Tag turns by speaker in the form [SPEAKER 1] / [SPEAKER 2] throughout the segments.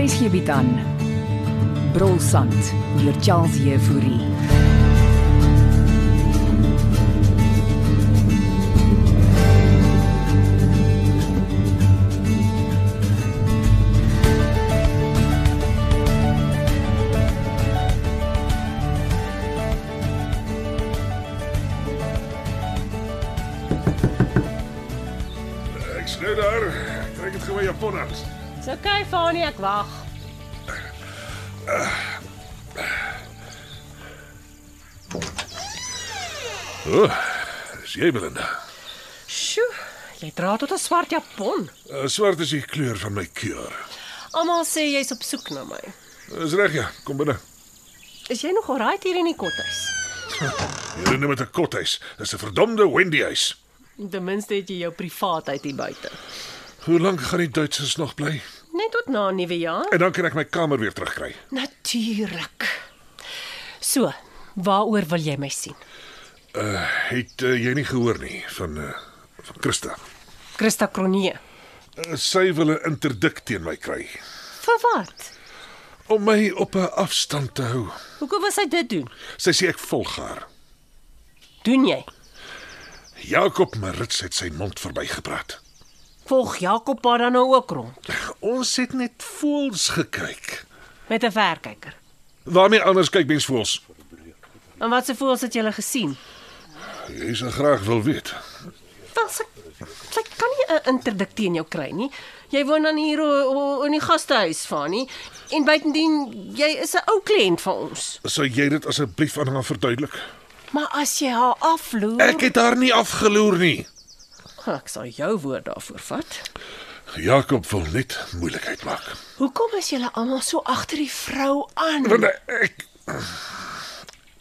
[SPEAKER 1] RSG bied aan Brolsand deur Charles Jefouri.
[SPEAKER 2] Ek's nou daar. Ek trek dit gou Japon uit.
[SPEAKER 3] Dis okay, Fanie, ek wag.
[SPEAKER 2] Dis jy Belinda.
[SPEAKER 3] Sjoe, jy dra tot 'n swart japon.
[SPEAKER 2] Uh, swart is die kleur van my keur.
[SPEAKER 3] Almal sê jy's op soek na my.
[SPEAKER 2] Dis reg ja, kom binne.
[SPEAKER 3] Is jy nog alraai hier in die kothuis?
[SPEAKER 2] Hier in met 'n kothuis. Dis ten verdomde Wendy huis.
[SPEAKER 3] Ten minste het jy jou privaatheid hier buite.
[SPEAKER 2] Hoe lank gaan die Duitsers nog bly?
[SPEAKER 3] Net tot na nuwe jaar.
[SPEAKER 2] En dan kan ek my kamer weer terugkry.
[SPEAKER 3] Natuurlik. So, waaroor wil jy my sien?
[SPEAKER 2] Het uh, jy nie gehoor nie van uh, van Christa?
[SPEAKER 3] Christa Kronee.
[SPEAKER 2] Uh, sy wil 'n interdik teen my kry
[SPEAKER 3] Vir wat?
[SPEAKER 2] om my op 'n afstand te hou.
[SPEAKER 3] Hoekom was hy dit doen?
[SPEAKER 2] Sy sê ek volg haar.
[SPEAKER 3] Doen jy?
[SPEAKER 2] Jakob Marits het sy mond verbygepraat.
[SPEAKER 3] Volg Jakob pa dan nou ook rond
[SPEAKER 2] Ons het net voels gekyk.
[SPEAKER 3] met 'n verkyker.
[SPEAKER 2] Waarmee anders kyk mens voels?
[SPEAKER 3] En wat se voels het jy gele gesien?
[SPEAKER 2] Jy sal graag wil weet.
[SPEAKER 3] Wel, sy, sy kan nie 'n interdik teen jou kry nie. Jy woon dan hier o, o, in die gastehuis van nie en buitendien jy is 'n ou kliënt van ons.
[SPEAKER 2] Sou jy dit asseblief aan haar verduidelik?
[SPEAKER 3] Maar as jy haar afloer,
[SPEAKER 2] Ek het haar nie afgeloer nie.
[SPEAKER 3] ek sal jou woord daarvoor vat.
[SPEAKER 2] Jakob wil net moeilikheid maak.
[SPEAKER 3] Hoekom is julle almal so agter die vrou aan?
[SPEAKER 2] Want ek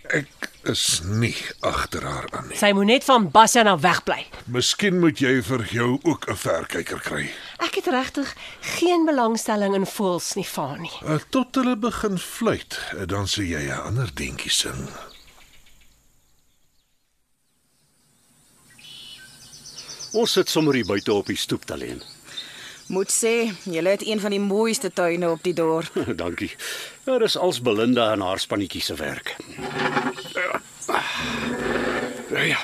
[SPEAKER 2] ek is nie agter haar aan nie.
[SPEAKER 3] Sy moet net van Basja na wegbly.
[SPEAKER 2] Miskien moet jy vir jou ook 'n verkyker kry.
[SPEAKER 3] Ek het regtig geen belangstelling in voels nie, Fani.
[SPEAKER 2] Uh, Tot hulle begin fluit, uh, dan sê jy 'n ander deuntjie sing.
[SPEAKER 4] Ons sit sommer hier buite op die stoep alleen.
[SPEAKER 5] Moet sê, julle het een van die mooiste tuine op die dorp.
[SPEAKER 4] Dankie. Daar is als Belinda en haar spannetjie se werk. Ja, ja.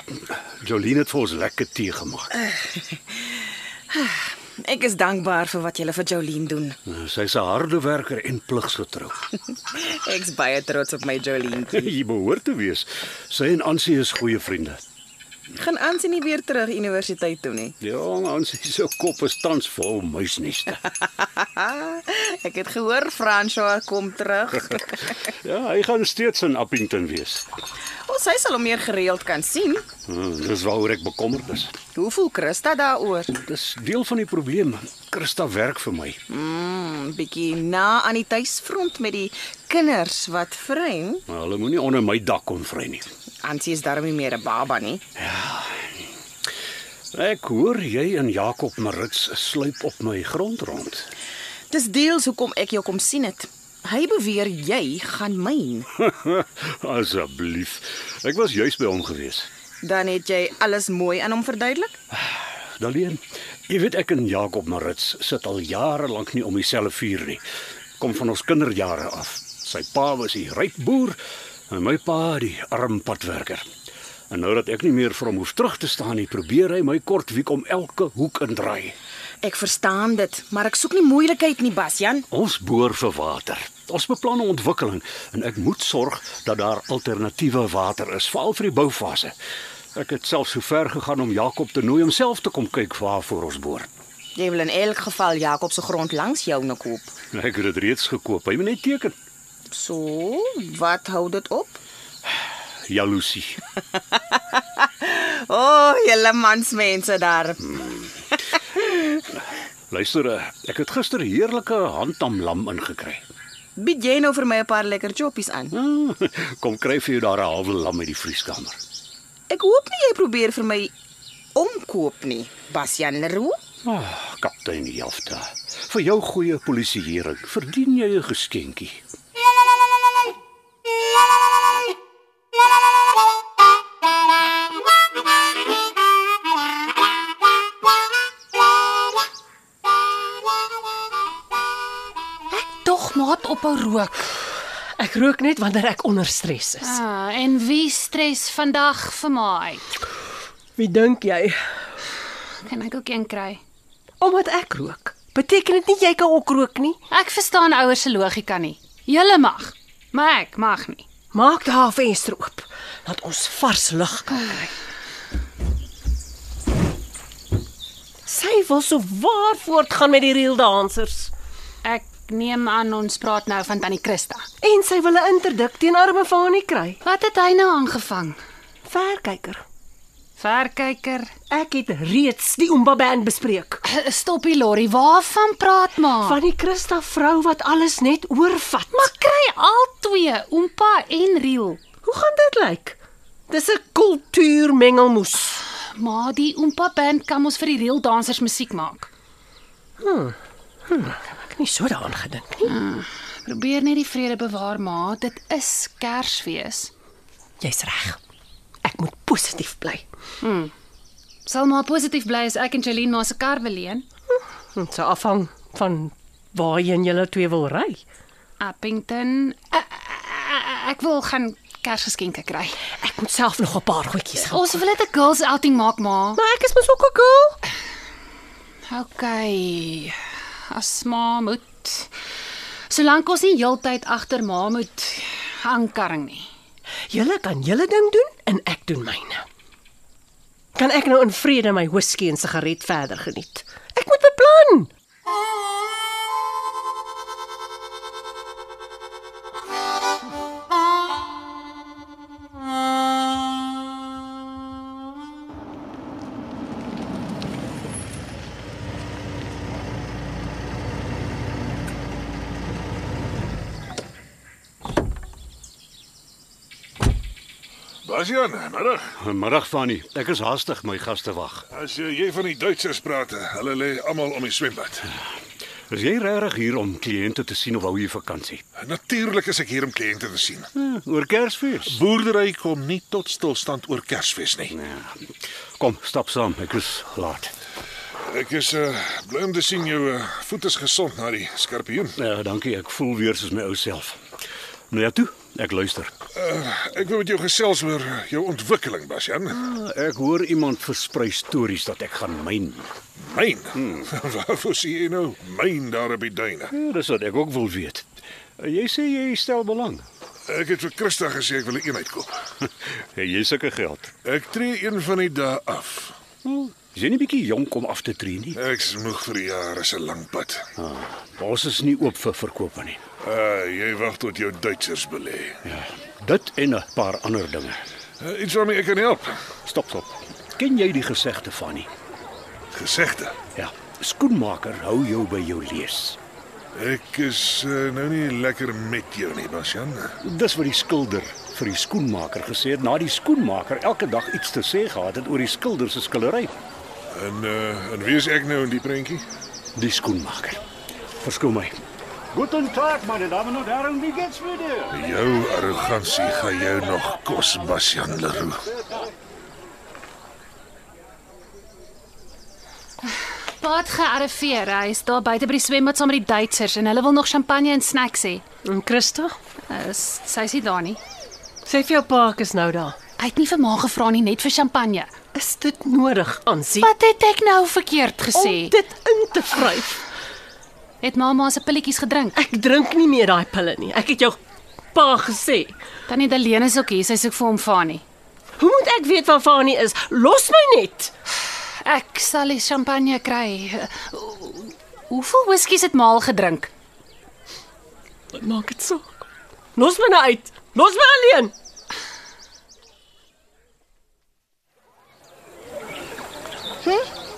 [SPEAKER 4] Jolien het vir ons lekker tee gemaak.
[SPEAKER 5] Ek is dankbaar vir wat julle vir Jolien doen.
[SPEAKER 4] Sy's 'n harde werker en pligsgetrou.
[SPEAKER 5] Ek's baie trots op my Jolien.
[SPEAKER 4] Jy behoort te wees. Sy en Ansie is goeie vriende.
[SPEAKER 5] Gaan aansien nie weer terug universiteit toe nie.
[SPEAKER 4] Ja, Ansie se kop is tans vol muisneste.
[SPEAKER 5] Ek het gehoor François kom terug.
[SPEAKER 4] Ja, hy gaan steeds in Appington wees.
[SPEAKER 5] Ons hy sal hom meer gereeld kan sien.
[SPEAKER 4] Hmm, Dis waaroor ek bekommerd is.
[SPEAKER 5] Hoe voel Christa daaroor?
[SPEAKER 4] Dis deel van die probleem. Christa werk vir my.
[SPEAKER 5] Mm, bietjie na aan die tuisfront met die kinders wat vreem.
[SPEAKER 4] Maar hulle moenie onder my dak kom vry nie.
[SPEAKER 5] Ansie is darm nie meer 'n baba nie.
[SPEAKER 4] Ek hoor jy en Jakob Marits sluip op my grond rond.
[SPEAKER 5] Dis deels hoekom ek jou kom sien het. Hy beweer jy gaan myn.
[SPEAKER 4] Asseblief. Ek was juis by hom gewees.
[SPEAKER 5] Dan het jy alles mooi aan hom verduidelik.
[SPEAKER 4] Daleen, jy weet ek en Jakob Marits sit al jare lank nie om dieselfde vuur nie. Kom van ons kinderjare af. Sy pa was 'n ryk boer en my pa die arm padwerker. En nou dat ek nie meer vir hom hoef terug te staan nie, probeer hy my kortwiek om elke hoek indraai.
[SPEAKER 5] Ek verstaan dit, maar ek soek nie moeilikheid nie, Basjan.
[SPEAKER 4] Ons boor vir water. Ons beplan 'n ontwikkeling en ek moet sorg dat daar alternatiewe water is, veral vir die boufase. Ek het self so ver gegaan om Jakob te nooi om self te kom kyk waarvoor ons boor.
[SPEAKER 5] Jy wil in elk geval Jakob se grond langs jou nou koop.
[SPEAKER 4] Ek het dit reeds gekoop. Hy moet net teken.
[SPEAKER 5] So, wat hou dit op?
[SPEAKER 4] Jaloesie.
[SPEAKER 5] O, oh, julle mansmense daar.
[SPEAKER 4] Luister, eh, ek het gister heerlike handamlam ingekry.
[SPEAKER 5] Bied jy nou vir my 'n paar lekker choppies aan?
[SPEAKER 4] Hmm, Kom kry vir jou daar 'n halwe lam uit die vrieskamer.
[SPEAKER 5] Ek hoop nie jy probeer vir my omkoop nie, Basjan Leroux.
[SPEAKER 4] Ah, kaptein Jafta. Vir jou goeie polisieering verdien jy 'n geskenkie.
[SPEAKER 6] Ah, Tog maat ophou rook.
[SPEAKER 3] Ek rook net wanneer ek onder stres is.
[SPEAKER 6] Ah, en wie stres vandag vir my uit?
[SPEAKER 3] Wie dink jy?
[SPEAKER 6] Kan ek ook een kry?
[SPEAKER 3] Omdat ek rook, beteken dit nie jy kan ook rook nie.
[SPEAKER 6] Ek verstaan ouers se logika nie. Julle mag, maar ek mag nie.
[SPEAKER 3] Maak daai venster oop dat ons vars lug kan kry. Sy wil so waar voortgaan met die reel dansers
[SPEAKER 6] Ek neem aan ons praat nou van tannie Christa.
[SPEAKER 3] en sy wil 'n interdik teen arme Fanie kry.
[SPEAKER 6] Wat het hy nou aangevang?
[SPEAKER 3] Verkyker,
[SPEAKER 6] Verkyker.
[SPEAKER 3] ek het reeds die Umba band bespreek.
[SPEAKER 6] Stop die lorry. Waarvan praat maar?
[SPEAKER 3] Van die Christa vrou wat alles net oorvat. Ah. Maar
[SPEAKER 6] kry al twee, Oompa en Riel.
[SPEAKER 3] hoe gaan dit lyk? Dis 'n kultuurmengelmoes.
[SPEAKER 6] Maar die Oompa band kan ons vir die Riel dansers musiek maak.
[SPEAKER 3] Ek het nie so daaraan gedink nie.
[SPEAKER 6] Probeer net die vrede bewaar, ma. Dit is Kersfees.
[SPEAKER 3] Jy's reg. Ek moet positief bly.
[SPEAKER 6] Sal maar positief bly as ek en Jolene maar se kar beleen.
[SPEAKER 3] Dit sal afhang van waarheen julle twee wil ry.
[SPEAKER 6] Appington. Ä- ä- ä- Ek wil gaan Kersgeskenke kry.
[SPEAKER 3] Ek moet self nog 'n paar goedjies gaan.
[SPEAKER 6] Ons wil net 'n girls outing maak, ma.
[SPEAKER 3] Maar ek is mos ook 'n girl.
[SPEAKER 6] Okay. As ma moet solank ons nie heeltyd agter ma moet aankarring nie.
[SPEAKER 3] Julle kan julle ding doen en ek doen myne. Kan ek nou in vrede my whisky en sigaret verder geniet? Ek moet beplan.
[SPEAKER 2] Basjan, middag.
[SPEAKER 4] Middag Fanny, ek is haastig, my gaste wag.
[SPEAKER 2] As jy, jy van die Duitsers praat, eh, hulle lê almal om die swembad.
[SPEAKER 4] Is jy regtig hier om kliënte te sien of hou jy vakansie?
[SPEAKER 2] Natuurlik is ek hier om kliënte te sien.
[SPEAKER 4] Eh, oor Kersfees.
[SPEAKER 2] Boerdery kom nie tot stilstand oor Kersfees nie.
[SPEAKER 4] Ja. Kom, stap saam, ek is laat.
[SPEAKER 2] Ek is uh bly om te sien jou uh, voet is gesond na die skorpioen.
[SPEAKER 4] Ja, dankie, ek voel weer soos my ou self. Nou ja toe, ek luister.
[SPEAKER 2] Ek wil met jou gesels oor eh, jou ontwikkeling, Basjan.
[SPEAKER 4] Ja, Ek hoor iemand versprei stories dat ek gaan myn.
[SPEAKER 2] Myn. Waarvoor sien jy nou myn daar op die duine?
[SPEAKER 4] Ja, dis wat ek ook wil weet. Eh, Jy sê jy stel belang.
[SPEAKER 2] Ek het vir Christa gesê ek wil 'n eenheid koop.
[SPEAKER 4] jy sulke geld.
[SPEAKER 2] Ek tree een van die dae af.
[SPEAKER 4] Hm, Is jy nie bietjie jonk om af te tree nie?
[SPEAKER 2] Ek's moeg vir die jare se lang pad.
[SPEAKER 4] Ah, ons is nie oop vir verkope nie.
[SPEAKER 2] Uh, jy wag tot jou Duitsers belê.
[SPEAKER 4] Ja, dit en 'n paar ander dinge.
[SPEAKER 2] Uh, iets waarmee ek kan help.
[SPEAKER 4] Stop, stop. Ken jy die gesegde van nie?
[SPEAKER 2] Gesegde.
[SPEAKER 4] Ja, skoenmaker hou jou by jou lees.
[SPEAKER 2] Ek is uh, nou nie lekker met jou nie, Basjan.
[SPEAKER 4] Dis wat die skilder vir die skoenmaker gesê het, na die skoenmaker elke dag iets te sê gehad het oor die skilder se skildery.
[SPEAKER 2] En uh, en wie is ek nou in die prentjie?
[SPEAKER 4] Die skoenmaker. Verskoon my.
[SPEAKER 7] Guten Tag, meine Damen und Herren, wie geht's mir dir?
[SPEAKER 2] Jou arrogansie gaan jou nog kos, Basjan Leroux.
[SPEAKER 6] Paat gearriveer. Hy is daar buite by die swembad saam met die Duitsers en hulle wil nog champagne en snacks hê.
[SPEAKER 3] En Christa,
[SPEAKER 6] Uh, Sy's nie daar nie.
[SPEAKER 3] sê vir jou pa ek is nou daar.
[SPEAKER 6] Hy het nie vir ma gevra nie, net vir champagne.
[SPEAKER 3] Is dit nodig, Ansie?
[SPEAKER 6] Wat het ek nou verkeerd gesê?
[SPEAKER 3] om dit in te vryf.
[SPEAKER 6] Het mamma se pilletjies gedrink.
[SPEAKER 3] Ek drink nie meer daai pille nie. Ek het jou pa gesê.
[SPEAKER 6] Tannie Delene is ook hier, sy soek vir hom Fani.
[SPEAKER 3] Hoe moet ek weet waar Fanie is? Los my net.
[SPEAKER 6] Ek sal die champagne kry. Uh, Hoeveel whiskies het maal gedrink?
[SPEAKER 3] Wat maak dit so? Los my nou uit. Los my alleen.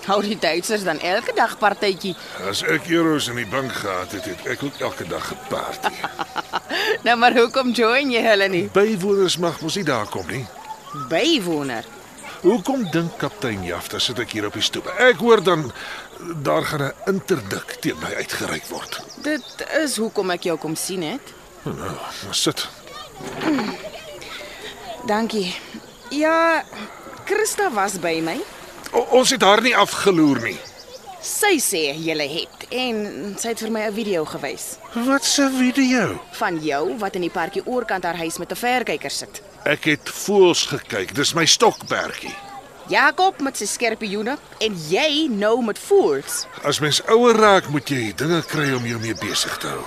[SPEAKER 5] Hou die Duitsers dan elke dag partytjie.
[SPEAKER 2] As ek euros in die bank gehad het, het ek ook elke dag gepaard.
[SPEAKER 5] Nou maar hoekom join jy hulle nie?
[SPEAKER 2] Bywoners mag mos nie daar kom nie.
[SPEAKER 5] Bywoner.
[SPEAKER 2] Hoekom dink kaptein Jafta sit ek hier op die stoep? Ek hoor dan daar gaan 'n interdik teen my uitgereik word.
[SPEAKER 5] Dit is hoekom ek jou kom sien het.
[SPEAKER 2] Nou, sit.
[SPEAKER 5] Dankie. Ja, Christa was by my.
[SPEAKER 2] O, ons het haar nie afgeloer nie.
[SPEAKER 5] Sy sê jy het en sy het vir my 'n video gewys
[SPEAKER 2] Wat 'n video.
[SPEAKER 5] van jou wat in die parkie oorkant haar huis met 'n verkyker sit.
[SPEAKER 2] Ek het voels gekyk. Dis my stokperdjie.
[SPEAKER 5] Jakob met sy skerpioene en jy nou met voels.
[SPEAKER 2] As mens ouer raak, moet jy dinge kry om jou mee besig te hou.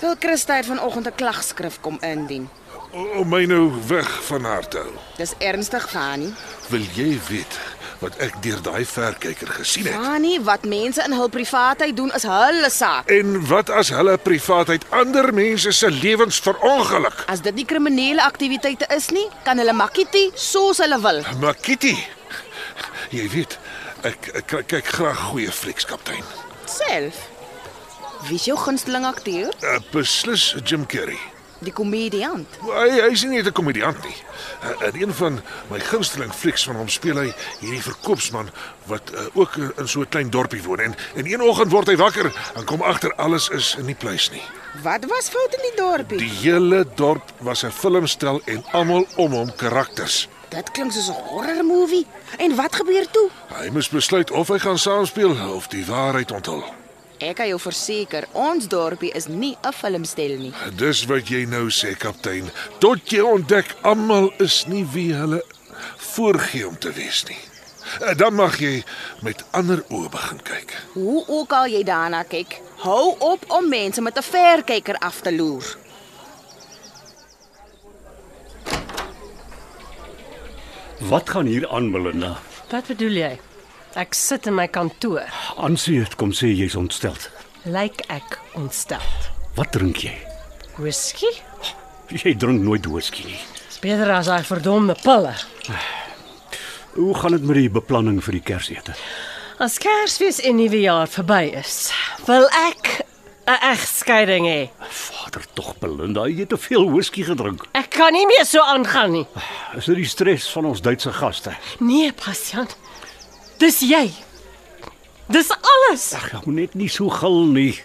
[SPEAKER 5] Wil Christa het vanoggend 'n klagskrif kom indien.
[SPEAKER 2] O, om my nou weg van haar te hou.
[SPEAKER 5] Dis ernstig, Fani.
[SPEAKER 2] Wil jy weet wat ek deur daai verkyker gesien het?
[SPEAKER 5] Fani, wat mense in hul privaatheid doen is hulle saak.
[SPEAKER 2] En wat as hulle privaatheid ander mense se lewens verongeluk?
[SPEAKER 5] As dit nie kriminele aktiwiteite is nie, kan hulle makietie soos hulle wil.
[SPEAKER 2] Maar Kitty, jy weet, ek ek kyk- kyk graag goeie flieks, kaptein.
[SPEAKER 5] Self. Wie is jou gunsteling akteur?
[SPEAKER 2] Uh, beslis Jim Carrey.
[SPEAKER 5] Die komediant.
[SPEAKER 2] Hy hy's nie net 'n komediant nie. Uh, in een van my gunsteling flieks van hom speel hy hierdie verkoopsman wat uh, ook in, in so 'n klein dorpie woon en in een oggend word hy wakker en kom agter alles is nie pleis nie.
[SPEAKER 5] Wat was fout in die dorpie?
[SPEAKER 2] Die hele dorp was 'n filmstel en almal om hom karakters.
[SPEAKER 5] Dit klink soos 'n horror movie. En wat gebeur toe?
[SPEAKER 2] Hy moes besluit of hy gaan saamspeel of die waarheid onthul.
[SPEAKER 5] Ek kan jou verseker, ons dorpie is nie 'n filmstel nie.
[SPEAKER 2] Dis wat jy nou sê, kaptein. Tot jy ontdek almal is nie wie hulle voorgee om te wees nie. Eh, Dan mag jy met ander oë begin kyk.
[SPEAKER 5] Hoe ook al jy daarna kyk, hou op om mense met 'n verkyker af te loer.
[SPEAKER 4] Wat gaan hier aan, Melinda?
[SPEAKER 3] Wat bedoel jy? Ek sit in my kantoor.
[SPEAKER 4] Ansie het kom sê jy's ontstel.
[SPEAKER 3] Lyk ek ontstel.
[SPEAKER 4] Wat drink jy?
[SPEAKER 3] Whisky?
[SPEAKER 4] Jy drink nooit whisky nie.
[SPEAKER 3] Dis beter as daai verdomde pille.
[SPEAKER 4] Hoe gaan dit met die beplanning vir die Kersete?
[SPEAKER 3] As Kersfees en Nuwejaar verby is, wil ek 'n egskeiding hê.
[SPEAKER 4] Vader tog, Belinda, jy het te veel whisky gedrink.
[SPEAKER 3] Ek kan nie meer so aangaan nie.
[SPEAKER 4] Is dit die stres van ons Duitse gaste?
[SPEAKER 3] Nee, Bastian. Dis jy. Dis alles.
[SPEAKER 4] Ag, jy moet net nie so gil nie.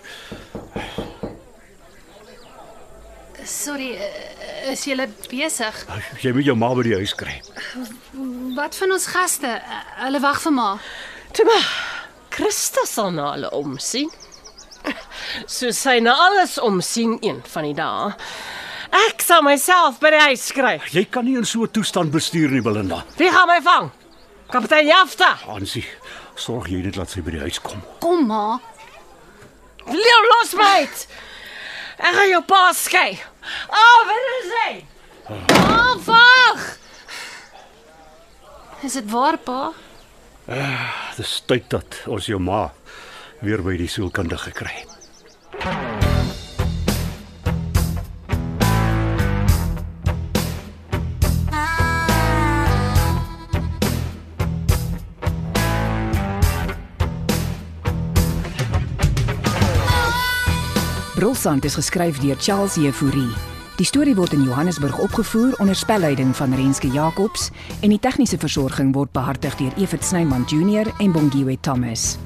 [SPEAKER 6] Sorry, eh, is jy besig?
[SPEAKER 4] Jy moet jou ma by die huis kry.
[SPEAKER 6] Wat van ons gaste? Hulle wag vir ma.
[SPEAKER 3] Toe maar. Christus sal na hulle omsien. So sy na alles omsien een van die dae. Ek sal myself by die huis kry.
[SPEAKER 4] Jy kan nie in so 'n toestand bestuur nie, Belinda.
[SPEAKER 3] Wie gaan my vang? Kaptein Jafta.
[SPEAKER 4] Ansie, sorg jy net laat sy by die huis kom.
[SPEAKER 6] Kom ma.
[SPEAKER 3] Leo los my uit. Ek gaan jou pa skei. Ah, oh, wat is hy?
[SPEAKER 6] Ah, wag. Is dit waar pa?
[SPEAKER 4] Dis tyd dat ons jou ma weer by die sielkundige kry.
[SPEAKER 1] Brolsand is geskryf deur Charles Jefouri. Die storie word in Johannesburg opgevoer onder spelleiding van Renske Jacobs en die tegniese versorging word behartig deur Evit Snyman Junior en Bongwe Thomas.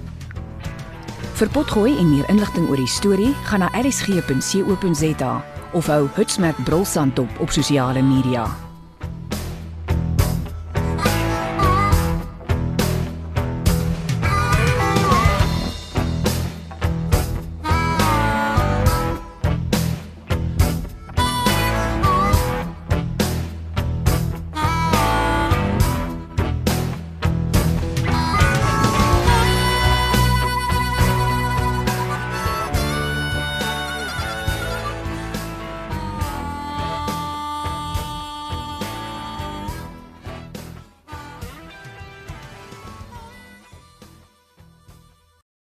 [SPEAKER 1] Vir potgooi en meer inligting oor die storie, gaan na rsg.co.za of hou Hutsmerk Brolsand op op sosiale media.